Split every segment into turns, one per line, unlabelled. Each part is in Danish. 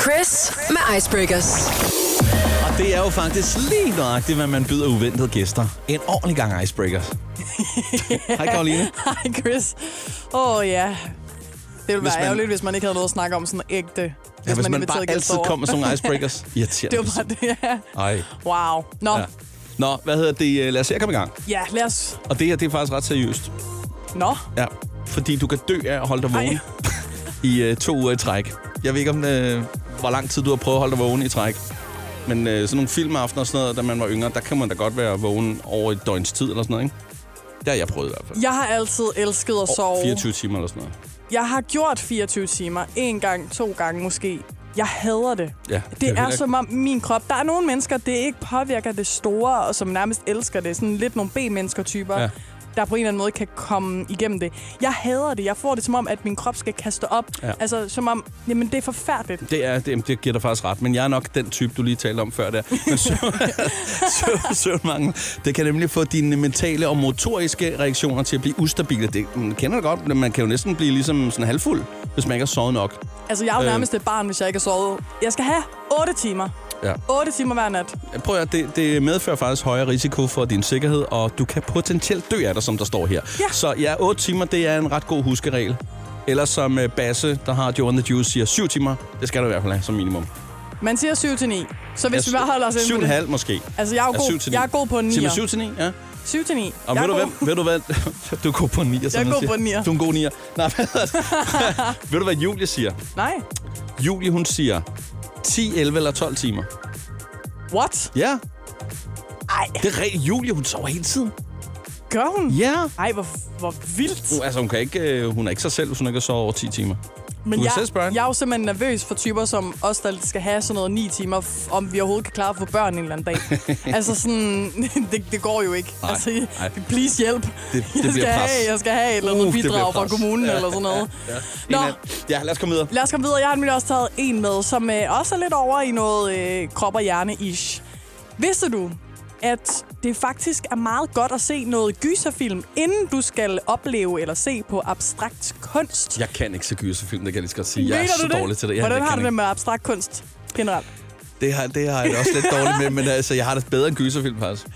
Chris med Icebreakers.
Og det er jo faktisk lige nøjagtigt, hvad man byder uventede gæster. En ordentlig gang icebreakers. Hej Karoline.
Hej Chris. Åh oh, ja. Det ville
Hvis man-
være man... ærgerligt, hvis man ikke havde noget at snakke om sådan ægte. hvis
Ja, hvis man
inviterede
bare
gæster
altid
over.
kommer med sådan nogle icebreakers. Irriterende.
det var bare det, ja.
Ej.
Wow. Nå,
Ja.
ja.
Nå, hvad hedder det? Øh, Lad os se at komme i gang.
ja, lad os...
Og det her, det er faktisk ret seriøst.
Nå,
Ja. Fordi du kan dø af at holde dig
Ej.
vågen i øh, to uger i træk. Jeg ved ikke, om øh, hvor lang tid du har prøvet at holde dig vågen i træk. Men øh, sådan nogle filmaftener og sådan noget, da man var yngre, der kan man da godt være vågen over et døgns tid eller sådan noget, ikke? Det har jeg prøvet i hvert fald.
jeg har altid elsket at sove.
24 timer eller sådan noget.
Jeg har gjort 24 timer. En gang, to gange måske. Jeg hader det.
Ja, det
det
er
er,
heller-
som om min krop... Der er nogle mennesker, det ikke påvirker det store, og som nærmest elsker det. Sådan lidt nogle B-mennesker-typer,
Ja.
ja. der på en eller anden måde kan komme igennem det. Jeg hader det. Jeg får det som om, at min krop skal kaste op.
Ja.
Ja. Altså, som om... Jamen, det er forfærdeligt.
Det, er, det, det giver dig faktisk ret, men jeg er nok den type, du lige talte om før der. Men søvn, søvn, søvnmangel, det kan nemlig få dine mentale og motoriske reaktioner til at blive ustabile. Det, man kender det godt, men man kan jo næsten blive ligesom sådan halvfuld, hvis man ikke har sovet nok.
Altså, jeg er jo
Øh.
nærmest et barn, hvis jeg ikke har sovet. Jeg skal have 8 timer.
Ja.
8 timer hver nat.
Prøv at høre, det, det medfører faktisk højere risiko for din sikkerhed, og du kan potentielt dø af dig, som der står her.
Ja.
Så ja, 8 timer, det er en ret god huskeregel. Eller som øh, Basse, der har Joe and the Juice, siger, 7 timer, det skal du i hvert fald have som minimum.
Man siger 7 til 9. Så hvis vi bare holder os inden for det.
7,5 måske.
Altså, jeg er, jo
Ja, syv til
god,
ni.
jeg er god på en 9.
Siger man 7 til 9? Ja.
7 til 9.
Og
jeg
ved du,
er god.
hvem, ved du hvad? Du er god på en nier, som
Jeg er
man
god
siger.
på en nier.
Du er en god nier. Nej, hvad hedder det? ved du, hvad Julie siger?
Nej.
Julie, hun siger 10, 11 eller 12 timer.
What?
Ja,
Ej,
det er rigtigt. Julie, hun sover hele tiden.
gør hun?
Ja.
Ej, hvor, hvor vildt.
Uh, altså, hun, kan ikke, øh, hun er ikke sig selv, hvis hun ikke har sovet over 10 timer.
Men
du kan
jeg,
selv spørge hende.
jeg er jo simpelthen nervøs for typer som os, der skal have sådan noget 9 timer, f- om vi overhovedet kan klare at få børn en eller anden dag. altså sådan, det, det går jo ikke.
Nej,
altså,
nej.
please hjælp. Det,
det
jeg,
bliver
skal
pres.
have, jeg skal have et eller
Uh,
andet
det bliver
bidrag fra
pres.
kommunen
Ja,
eller sådan noget.
Ja,
Nå.
En af- ja lad os komme videre.
Lad os komme videre. Jeg har nemlig også taget en med, som øh, også er lidt over i noget øh, krop og hjerne-ish. Vidste du, at det faktisk er meget godt at se noget gyserfilm, inden du skal opleve eller se på abstrakt kunst?
Jeg kan ikke så gyserfilm, det kan jeg lige så godt sige. jeg er
Mener
så
du det?
dårlig til det. Jeg,
Hvordan
jeg
har
kan
du det med abstrakt kunst generelt?
ikke. det har, det har jeg også lidt dårligt med, men altså, jeg har det bedre end gyserfilm, faktisk.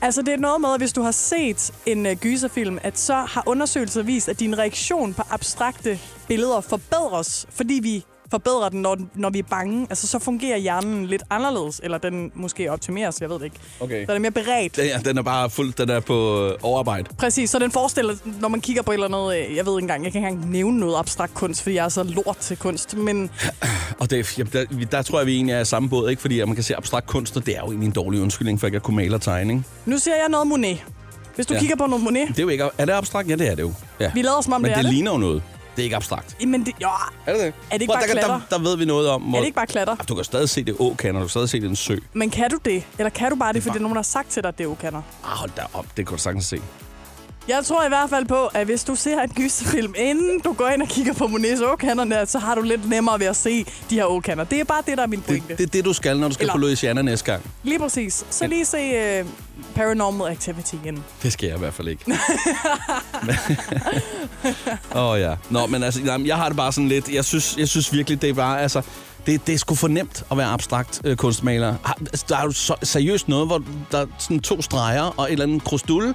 Altså, det er noget med, at hvis du har set en øh, gyserfilm, at så har undersøgelser vist, at din reaktion på abstrakte billeder forbedres, fordi vi forbedrer den, når, den- når vi er bange. Altså, så fungerer hjernen lidt anderledes, eller den måske optimeres, jeg ved det ikke.
Okay.
Så er det mere beredt.
Den, ja, den er bare fuld, den er på øh, overarbejde.
Præcis, så den forestiller, når man kigger på et eller andet, øh, jeg ved ikke engang, jeg kan ikke engang nævne noget abstrakt kunst, fordi jeg er så lort til kunst, men
Og det, jamen, der, vi- der tror jeg, vi egentlig er i samme båd, ikke? Fordi at man kan se abstrakt kunst, og det er jo egentlig en dårlig undskyldning for ikke at kunne male og tegne, ikke?
nu ser jeg noget Monet. Hvis du
Ja.
ja. kigger på noget Monet,
Det er jo ikke... Er det abstrakt? Ja, det er det jo. Ja.
Vi lader som om,
Men
det
det
er det.
ligner jo noget. Det er ikke abstrakt.
men det, jo,
Er det det?
Er det ikke bare
der, der,
klatter?
der, ved vi noget om, hvor... Ah,
er det ikke bare klatter?
Du kan stadig se det åkander, du kan stadig se det en sø.
Men kan du det? Eller kan du bare det, fordi
bare-
nogen har sagt til dig, at det er okander?
Ah, hold da op, det kan du sagtens se.
Jeg tror i hvert fald på, at hvis du ser en gyserfilm, inden du går ind og kigger på Monets åkanderne, så har du lidt nemmere ved at se de her åkander. Det er bare det, der er min
Det,
pointe.
det er det, du skal, når du skal Eller... på
Eller-
Louisiana næste gang.
Lige præcis. Så lige se uh, Paranormal Activity igen.
Det skal jeg i hvert fald ikke. Åh oh, ja. Nå, men altså, nej, men jeg har det bare sådan lidt... Jeg synes, jeg synes virkelig, det er bare... Altså, det, det er sgu for nemt at være abstrakt øh, kunstmaler. Har, altså, der er jo så, seriøst noget, hvor der er sådan to streger og et eller andet krusdulle,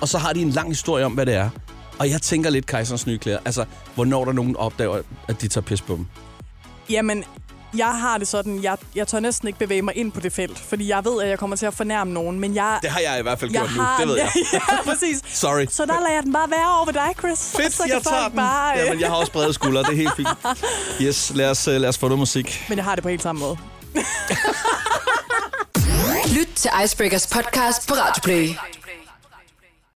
og så har de en lang historie om, hvad det er. Og jeg tænker lidt kejserens nye klæder. Altså, hvornår der nogen opdager, at de tager pis på dem.
Jamen, jeg har det sådan, jeg, jeg tør næsten ikke bevæge mig ind på det felt, fordi jeg ved, at jeg kommer til at fornærme nogen, men jeg...
Det har jeg i hvert fald
jeg
gjort nu, det ved jeg.
ja, præcis.
Sorry.
Så der lader jeg den bare være over ved dig, Chris.
Fedt,
så kan
jeg tager
folk
den.
Bare, øh,
Jamen, jeg har også brede skuldre, det er helt fint. Yes, lad os, øh, lad os få noget musik.
Men jeg har det på helt samme måde.
Lyt til Icebreakers podcast på Radioplay.